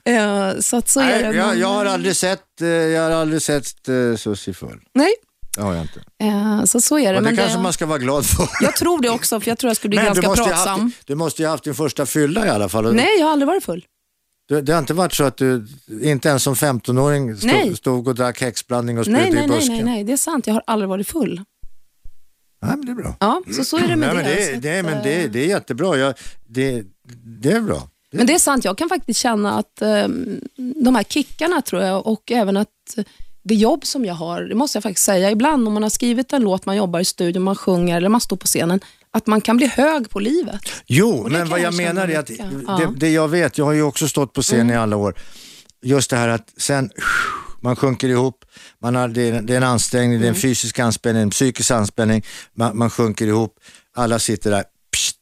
Eh, så att så är
Nej,
det.
jag,
men-
jag har aldrig sett, eh, jag har aldrig sett eh, Susie full.
Nej,
Det har jag inte.
eh, så så är det.
Men det
Men
kanske
det,
man ska vara glad för.
Jag tror det också, för jag tror jag skulle bli
du
ganska
måste, ju ha
pratsam.
haft, du måste ju ha haft din första fylla i alla fall. Och
Nej, jag har aldrig varit full.
Du, det har inte varit så att du, inte ens som 15-åring,
Nej.
stod, stod och drack häxblandning och spydde
Nej,
i
nej, nej,
busken?
nej, nej, det är sant. Jag har aldrig varit full.
nej men det är bra.
Ja, så så är det med
Mm. nej, men
det.
det,
Så att,
nej, men
eh,
det, det är jättebra. Jag, det, det är bra.
men ehm, det är sant, jag kan faktiskt känna att eh, de här kickarna tror jag och även att eh, det jobb som jag har, det måste jag faktiskt säga, ibland om man har skrivit en låt, man jobbar i studion, man sjunger eller man står på scenen, att man kan bli hög på livet.
Jo, men
kan
vad
jag
jag
känna
menar är att
lite.
det,
Ja. Mm.
det jag vet, jag har ju också stått på scen i alla år, just det här att sen man sjunker ihop, man har, det, är, det är en ansträngning, det är en
Mm.
fysisk anspänning, en psykisk anspänning, man, man sjunker ihop, alla sitter där, pst,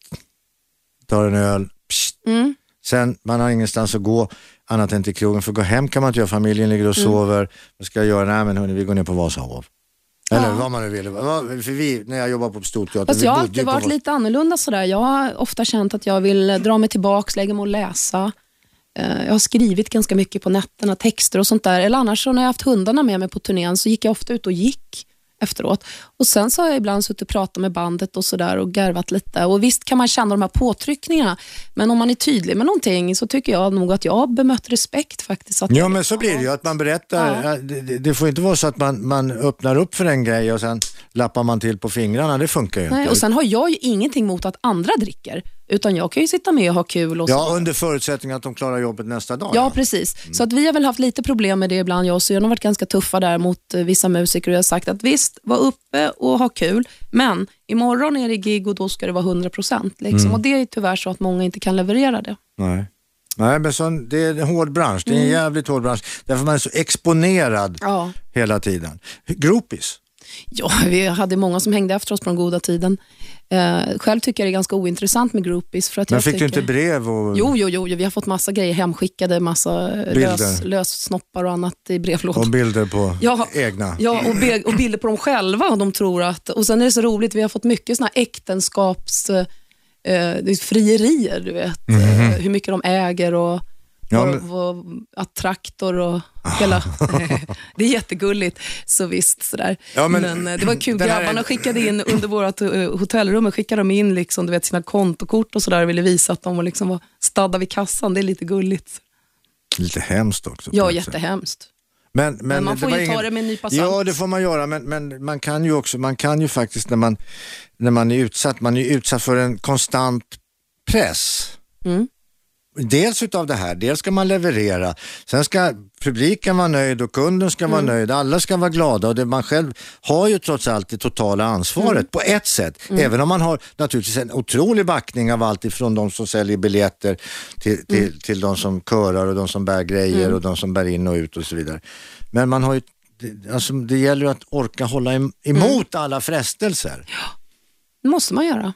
tar en öl, pst.
Mm.
sen man har ingenstans att gå annat än till krogen, för gå hem kan man inte göra, familjen ligger och
Mm.
sover, vad ska jag göra? Nej men hörni, vi går ner på Vasahov. Eller vad man nu vill. Vad- För vi, när jag jobbade på Storteatern,
Fast
vi
jag har
bodde ju
alltid
på
varit
Vas-
lite annorlunda sådär. Jag har ofta känt att jag vill dra mig tillbaka, lägga mig och läsa. Eh, Jag har skrivit ganska mycket på nätterna, texter och sånt där. Eller annars så när jag har haft hundarna med mig på turnén så gick jag ofta ut och gick efteråt. Och Sen så har jag ibland suttit och pratat med bandet och sådär och garvat lite. Och Visst kan man känna de här påtryckningarna, men om man är tydlig med någonting så tycker jag nog att jag har bemött respekt faktiskt. Att
Ja men så blir det ju, att man berättar.
Ja.
Ja, Det, det- det får inte vara så att man, man öppnar upp för en grej och sen lappar man till på fingrarna, det funkar ju
Nej,
inte.
och Sen har jag ju ingenting mot att andra dricker, utan jag kan ju sitta med och ha kul. Och så.
Ja, under förutsättning att de klarar jobbet nästa dag.
Ja, Mm. precis. Så att vi har väl haft lite problem med det ibland, jag och Syrran har varit ganska tuffa där mot eh, vissa musiker och jag har sagt att visst, var uppe och ha kul, men imorgon är det gig och då ska det vara 100%. Liksom. Och det är tyvärr så att många inte kan leverera det.
Nej. Nej, men så, det är en hård bransch. Det är en jävligt hård bransch. Därför man är så exponerad
Mm. Ja.
hela tiden. Groupies.
Ja, vi hade många som hängde efter oss på den goda tiden. Eh, själv tycker jag det är ganska ointressant med groupies. För att
Men
jag
fick
tycker...
du inte brev? Och...
Jo, jo, jo, jo, vi har fått massa grejer hemskickade, massa eh,
Bilder.
lös, lössnoppar och annat i brevlådan.
Och bilder på
Ja,
egna?
Ja, och, be- och bilder på dem själva. Och de tror att, och sen är det så roligt, vi har fått mycket såna här äktenskaps... Eh, det är frierier, du vet. Eh, hur mycket de äger och
Mhm. Ja,
vad-
men-
vad- att traktor och hela... det är jättegulligt, så visst. Sådär.
Ja, men-
men, eh, det var kul,
den här-
grabbarna skickade in under vårt eh, hotellrum skickade de in liksom, du vet, sina kontokort och sådär och ville visa att de var liksom var stadda vid kassan. Det är lite gulligt.
Lite hemskt också. på
Ja,
ett sätt.
jättehemskt.
Men, men,
Men man får
var
ju ta det med en nypa salt.
Ja, det får man göra, men, men man kan ju också, man kan ju faktiskt när man, när man är utsatt, man är ju utsatt för en konstant press. Dels utav det här, dels ska man leverera, sen ska publiken vara nöjd och kunden ska vara nöjd, alla ska vara glada och det, man själv har ju trots allt det totala ansvaret på ett sätt. Även om man har naturligtvis en otrolig backning av allt ifrån de som säljer biljetter till, till, till de som körar och de som bär grejer och de som bär in och ut och så vidare. Men man har ju, det- alltså, det gäller ju att orka hålla em- emot alla frestelser.
Det måste man göra.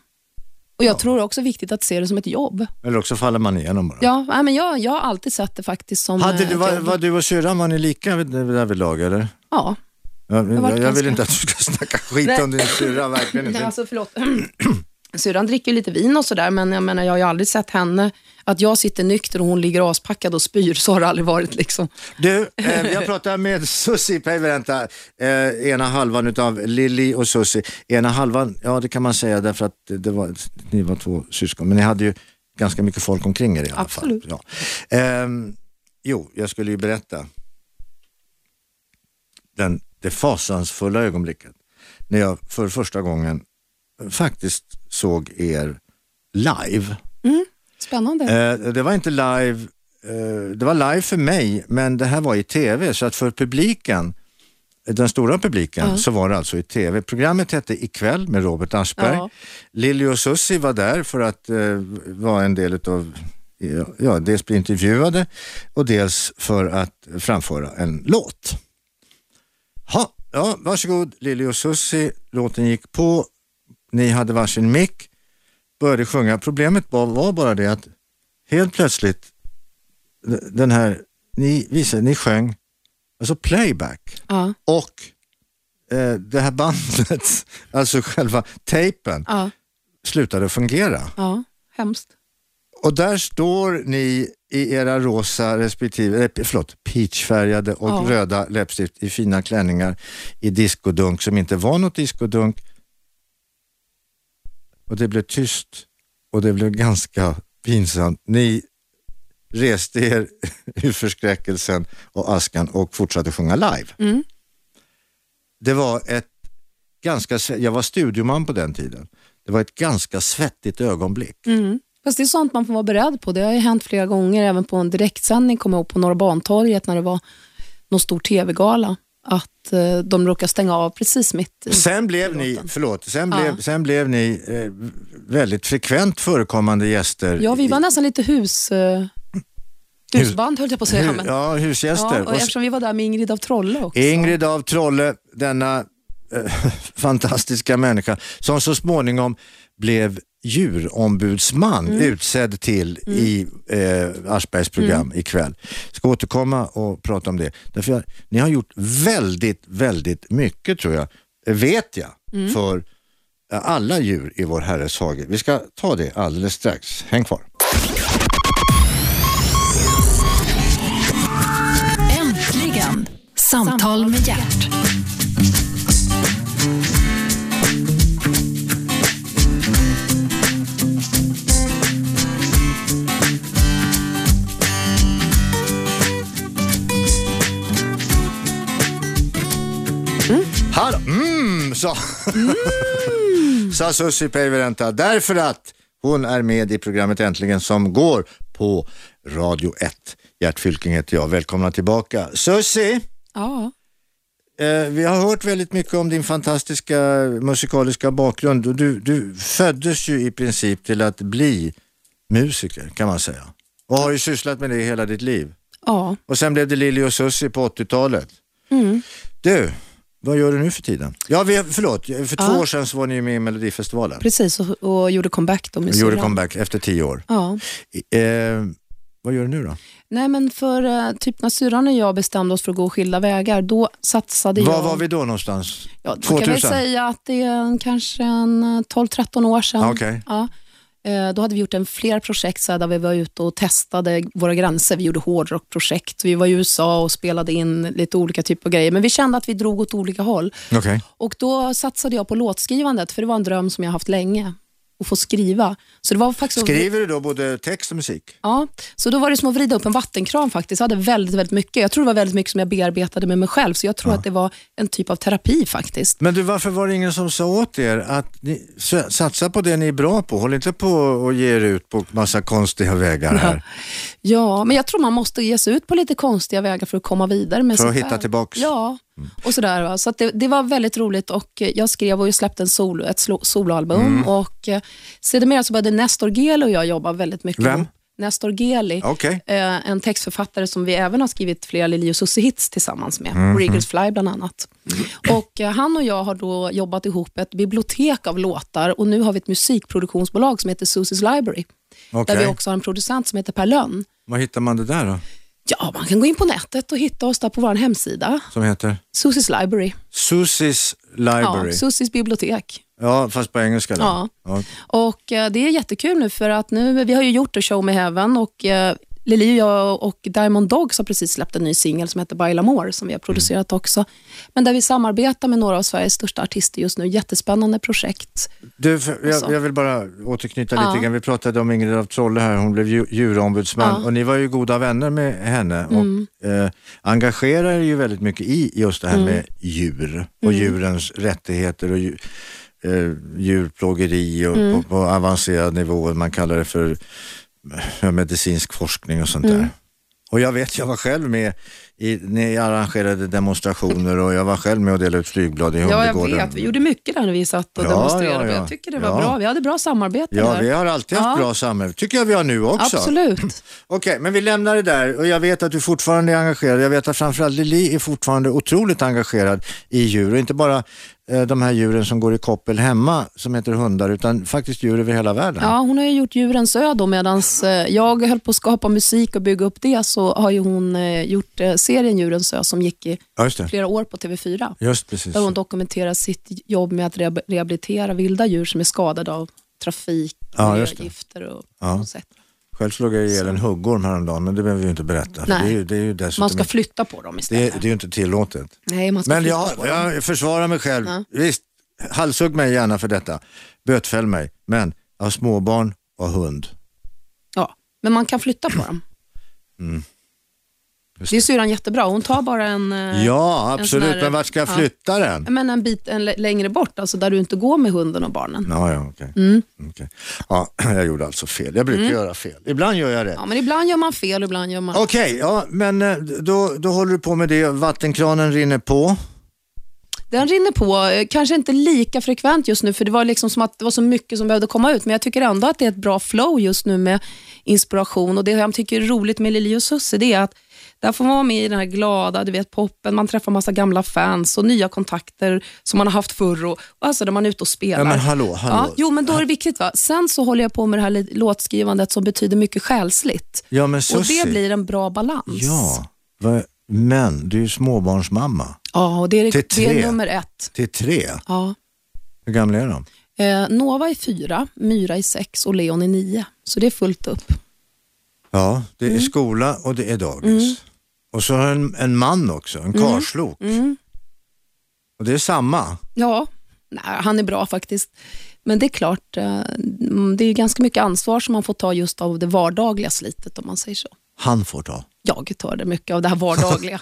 Och Jag tror också viktigt att se det som ett jobb.
Eller också faller man igenom bara.
Ja, nej, men jag, jag har alltid sett det faktiskt som
Hade
eh,
du,
ett
var,
jobb.
var du och syrran, var ni lika vid- därvidlag eller?
Ja.
Jag, jag,
varit
jag vill
ganska-
inte att du ska snacka skit
Nej.
om din syrra, verkligen
Nej,
inte.
alltså, förlåt. Syrran dricker ju lite vin och sådär, men jag menar jag har ju aldrig sett henne, att jag sitter nykter och hon ligger aspackad och spyr, så har det aldrig varit liksom.
Du, eh, jag pratade med Susi Päivärinta, eh, ena halvan utav Lilly och Susi. Ena halvan, ja det kan man säga därför att det det var, ni var två syskon, men ni hade ju ganska mycket folk omkring er i alla
Absolut.
fall. Ja. Ehm, jo, jag skulle ju berätta den, det fasansfulla ögonblicket när jag för första gången faktiskt såg er live.
Spännande.
Eh, det var inte live, eh, det var live för mig, men det här var i tv, så att för publiken, den stora publiken, så var det alltså i tv. Programmet hette Ikväll med Robert Aschberg.
Ja.
Lilly och Susi var där för att eh, vara en del av Ja, dels bli intervjuade och dels för att framföra en låt. Ha, ja, varsågod Lili och Susi, låten gick på, ni hade varsin mick, började sjunga. Problemet var, var bara det att helt plötsligt, d- den här, ni visade, ni sjöng, alltså playback
Ja,
och eh, det här bandet, alltså själva tejpen,
ja,
slutade fungera.
ja. Hemskt.
Och där står ni i era rosa respektive, eh, förlåt, peachfärgade och
Ja.
röda läppstift i fina klänningar i diskodunk som inte var något diskodunk. Och det blev tyst och det blev ganska pinsamt. Ni reste er ur förskräckelsen och askan och fortsatte sjunga live. Det var ett ganska, sve- jag var studioman på den tiden. Det var ett ganska svettigt ögonblick.
Fast det är sånt man får vara beredd på. Det har ju hänt flera gånger, även på en direktsändning, kommer jag ihåg, på Norra Bantorget när det var någon stor TV-gala. att eh, de råkade stänga av precis mitt i.
Sen blev ni, förlåt, sen blev, sen blev ni eh, väldigt frekvent förekommande gäster.
Ja, vi var nästan lite hus, eh, husband höll jag på att säga.
Hur,
men,
ja, husgäster.
Ja, och eftersom vi var där med Ingrid av Trolle också.
Ingrid av Trolle, denna eh, fantastiska människa som så småningom blev djurombudsman utsedd till i eh, Aschbergs program ikväll. Ska återkomma och prata om det. Därför jag, ni har gjort väldigt, väldigt mycket tror jag, eh, vet jag, för eh, alla djur i vår herres hage. Vi ska ta det alldeles strax. Häng kvar.
Äntligen! Samtal med hjärt.
Hallå, mm, sa, sa Susie Päivärinta. Därför att hon är med i programmet Äntligen som går på Radio 1. Gert Fylking heter jag. Välkomna tillbaka. Susie,
Ja.
eh, vi har hört väldigt mycket om din fantastiska musikaliska bakgrund. Och Du, du föddes ju i princip till att bli musiker kan man säga. Och har ju sysslat med det hela ditt liv.
ja.
Och sen blev det Lili och Susie på 80-talet.
Mm.
Du, vad gör du nu för tiden? Ja, vi, förlåt, för två
Ja.
år sedan så var ni ju med i Melodifestivalen.
Precis, och, och gjorde comeback då med
Och gjorde
syrran.
comeback efter tio år.
Ja.
I- Eh, vad gör du nu då?
Nej, men för eh, typ när syrran och jag bestämde oss för att gå skilda vägar, då satsade
Var
jag...
var vi då någonstans?
Ja, man kan väl
2000?
säga att det är en, kanske en eh, 12-13 år sedan.
Ah, okej.
Ja. Eh, Då hade vi gjort en fler projekt så här, där vi var ute och testade våra gränser. Vi gjorde hårdrockprojekt, vi var i USA och spelade in lite olika typer av grejer. Men vi kände att vi drog åt olika håll.
Okej.
Och Då satsade jag på låtskrivandet, för det var en dröm som jag haft länge, att få skriva. Så det var faktiskt
Skriver du då både text och musik?
Ja, så då var det som att vrida upp en vattenkran faktiskt. Jag hade väldigt, väldigt mycket. Jag tror det var väldigt mycket som jag bearbetade med mig själv, så jag tror att det var en typ av terapi faktiskt.
Men du, varför var det ingen som sa åt er att ni, s- satsa på det ni är bra på? Håll inte på och ge er ut på massa konstiga vägar här.
Ja, men jag tror man måste ge sig ut på lite konstiga vägar för att komma vidare med
För att
sig
hitta
själv.
tillbaks. Mm.
Ja, och sådär. Va? Så att det, det var väldigt roligt och eh, jag skrev och släppte en sol, ett slo- soloalbum
Mm.
och eh, sedermera så började Nestor Geli och jag jobba väldigt mycket.
Vem?
ihop. Nestor Geli,
Okej.
eh, en textförfattare som vi även har skrivit flera Lili och Susie-hits tillsammans med,
Mhm.
Regals Fly bland annat. Och eh, Han och jag har då jobbat ihop ett bibliotek av låtar och nu har vi ett musikproduktionsbolag som heter Susie's Library,
Okej.
där vi också har en producent som heter Per Lönn.
Var hittar man det där då?
Ja, man kan gå in på nätet och hitta oss där på vår hemsida,
Som heter?
Susis Library.
Susies
Ja,
Library. Ja,
Susis bibliotek.
fast på engelska då.
Ja.
Ja.
Och eh, Det är jättekul nu för att nu, vi har ju gjort A show med Heaven och eh, Lili och jag och Diamond Dogs har precis släppt en ny singel som heter Baila More som vi har producerat också. Men där vi samarbetar med några av Sveriges största artister just nu. Jättespännande projekt.
Du, för- jag,
så.
jag vill bara återknyta
Alltså. Ja.
lite grann. Vi pratade om Ingrid af Trolle här, hon blev dju- djurombudsman
Ja. Mm.
och ni var ju goda vänner med henne och eh, engagerar er ju väldigt mycket i just det här med djur
Mm.
och djurens rättigheter och dju- eh, djurplågeri och,
Mm.
på, på avancerad nivå. Man kallar det för eh, medicinsk forskning och sånt
Mm.
där. Och jag vet, jag var själv med i, ni arrangerade demonstrationer och jag var själv med och delade ut flygblad i
Ja,
Humlegården.
jag vet. Vi gjorde mycket där när vi satt och
Ja,
demonstrerade.
ja, ja.
Jag tycker det var
Ja.
bra. Vi hade bra samarbete
Ja,
där.
vi har alltid haft
Ja.
bra samhälle. tycker jag vi har nu också.
Absolut.
Okej, men vi lämnar det där och jag vet att du fortfarande är engagerad. Jag vet att framförallt Lili är fortfarande otroligt engagerad i djur och inte bara eh, de här djuren som går i koppel hemma som heter hundar utan faktiskt djur över hela världen.
Ja, hon har ju gjort Djurens ö då medan jag höll på att skapa musik och bygga upp det så har ju hon eh, gjort eh, serien Djurens ö som gick i
Ja, just det.
flera år på TV4.
Just precis.
Där hon dokumenterar sitt jobb med att rehab- rehabilitera vilda djur som är skadade av trafik,
Ja, just det.
miljögifter och
Ja.
och sätt.
Själv slog jag ihjäl en huggorm häromdagen men det behöver vi ju inte berätta. för
Nej.
Det är ju, det är ju dessutom
Man ska
inte-
flytta på dem istället.
det, är, det är ju inte tillåtet.
Nej, man ska
Men
flytta
jag,
på dem.
jag försvarar mig själv. Visst, halshugg mig gärna för detta. Bötfäll mig. Men jag har småbarn och hund. Mm.
Ja. Men man kan flytta på dem. Det är syrran jättebra. Hon tar bara en... eh, en
Ja, absolut.
sån här-
Men vart ska jag
ja. Mm.
flytta den?
Men en bit en, lä- längre bort, alltså där du inte går med hunden och barnen.
Ja, ja, okej.
Mm.
Okej. Ja, jag gjorde alltså fel. Jag brukar göra fel. Ibland gör jag rätt.
Ja, men ibland gör man fel, ibland gör man...
Okej, ja, men eh, då, då håller du på med det. Vattenkranen rinner på.
Den rinner på, eh, kanske inte lika frekvent just nu, för det var liksom som att det var så mycket som behövde komma ut, men jag tycker ändå att det är ett bra flow just nu med inspiration. Och Det jag tycker är roligt med Lili och Susse, det är att där får man vara med i den här glada du vet, poppen, man träffar massa gamla fans och nya kontakter som man har haft förr, och, och alltså där man är ute och spelar.
Ja, men hallå, hallå.
Ja, jo, men då är det viktigt. Va? Sen så håller jag på med det här li- låtskrivandet som betyder mycket själsligt.
Ja, men
Och
Susie.
det blir en bra balans.
Ja, va- men du är ju småbarnsmamma
ja och det, är,
Till
det,
tre.
är nummer ett.
till tre.
Ja.
Hur gamla är de?
Eh, Nova är fyra, Myra är sex och Leon är nio. Så det är fullt upp.
Ja, det
Mm.
är skola och det är dagis. Och så har jag en, en man också, en
Mm.
karlslok. Och det är samma.
Ja, nej, han är bra faktiskt. Men det är klart, eh, mm, det är ju ganska mycket ansvar som man får ta just av det vardagliga slitet om man säger så.
Han får ta.
Jag tar det mycket av det här vardagliga.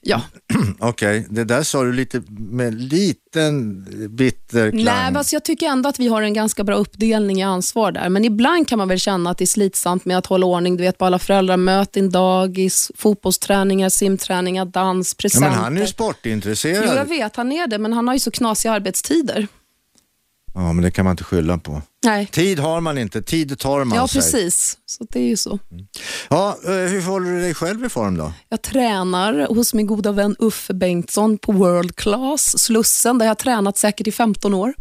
ja.
Okej, det där sa du lite med liten bitter klang.
Nej, men alltså jag tycker ändå att vi har en ganska bra uppdelning i ansvar där. Men ibland kan man väl känna att det är slitsamt med att hålla ordning du vet, på alla föräldramöten, dagis, fotbollsträningar, simträningar, dans,
ja,
presenter.
men han är ju
Jo,
sportintresserad.
jag vet, han är det, men han har ju så knasiga arbetstider.
Ja, men det kan man inte skylla på.
Nej.
Tid har man inte, tid tar man
Ja,
sig.
precis. Så det är ju så.
Ja, eh, hur håller du dig själv i form då?
Jag tränar hos min goda vän Uffe Bengtsson på World Class, Slussen, där jag har tränat säkert i 15 år.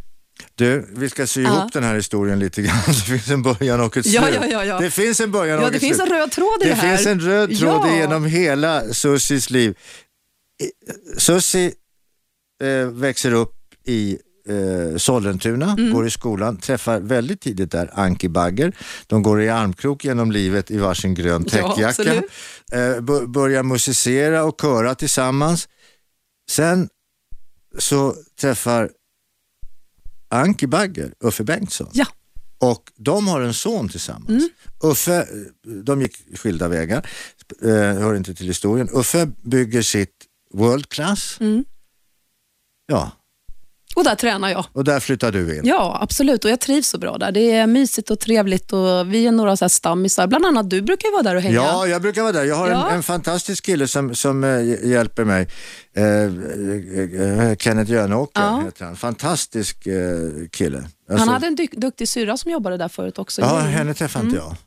Du, vi ska sy ihop den här historien lite grann. Det finns en början och ett slut.
Ja, ja, ja, ja.
Det finns en början
Ja,
och
det
ett
finns en
slut.
röd tråd i det,
det
här.
finns en röd tråd
ja.
genom hela Sussis liv. I- Sussi eh, växer upp i eh, Sollentuna,
Mm.
går i skolan, träffar väldigt tidigt där Anki Bagger. De går i armkrok genom livet i varsin grön
Ja,
täckjacka.
absolut.
eh, bör- börjar musicera och köra tillsammans. Sen så träffar Anki Bagger Uffe Bengtsson.
Ja.
Och de har en son tillsammans.
Mm.
Uffe, eh, de gick skilda vägar, eh, hör inte till historien. Uffe bygger sitt world class.
Mm.
Ja,
Och där tränar jag.
och där flyttar du in.
Ja, absolut. Och jag trivs så bra där. Det är mysigt och trevligt och vi är några så här stammisar. Bland annat du brukar ju vara där och hänga.
Ja, jag brukar vara där. Jag har
Ja.
en, en fantastisk kille som, som eh, hj- hjälper mig. Eh, eh, eh, Kenneth Jönåker
Ja.
heter han. Fantastisk eh, kille.
Han
Alltså-
hade en dyk- duktig syrra som jobbade där förut också,
Ja, eh.
Jane,
henne träffade inte
Mm.
jag.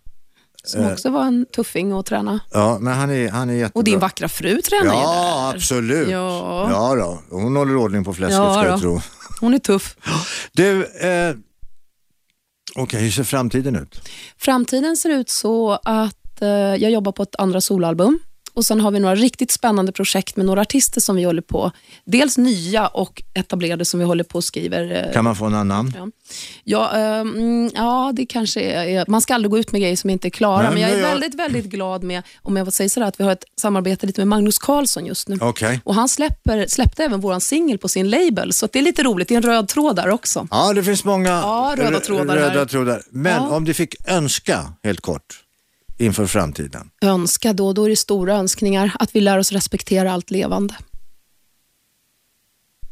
som också var en tuffing att träna.
Ja, men han är, han är jättebra.
Och din vackra fru tränar ju där.
Ja, absolut.
Ja.
Ja, då. Hon håller ordning på fläsket
Ja,
ska jag
då.
tro.
Hon är tuff.
Du, eh, okej, hur ser framtiden ut?
Framtiden ser ut så att eh, jag jobbar på ett andra solalbum och sen har vi några riktigt spännande projekt med några artister som vi håller på, dels nya och etablerade som vi håller på och skriver. eh,
Kan man få några namn?
fram. Ja, eh, mm, ja, det kanske är, är... Man ska aldrig gå ut med grejer som inte är klara,
Nej,
men jag
men
är
jag-
väldigt, väldigt glad med, om jag får säga sådär, att vi har ett samarbete lite med Magnus Carlsson just nu.
Okej.
Och Han släpper, släppte även vår singel på sin label, så att det är lite roligt. Det är en röd tråd där också.
Ja, det finns många
Ja, röda
rö-
trådar
röda
här.
trådar. Men
Ja.
om du fick önska, helt kort, inför framtiden.
Önska då, då är det stora önskningar, att vi lär oss respektera allt levande.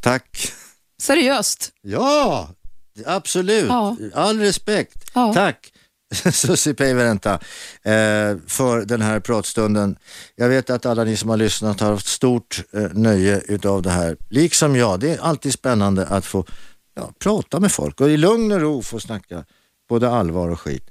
Tack.
Seriöst?
Ja, absolut.
Ja.
All respekt.
Ja.
Tack. Susie Päivärinta eh, för den här pratstunden. Jag vet att alla ni som har lyssnat har haft stort eh, nöje utav det här. Liksom jag, det är alltid spännande att få ja, prata med folk och i lugn och ro få snacka både allvar och skit.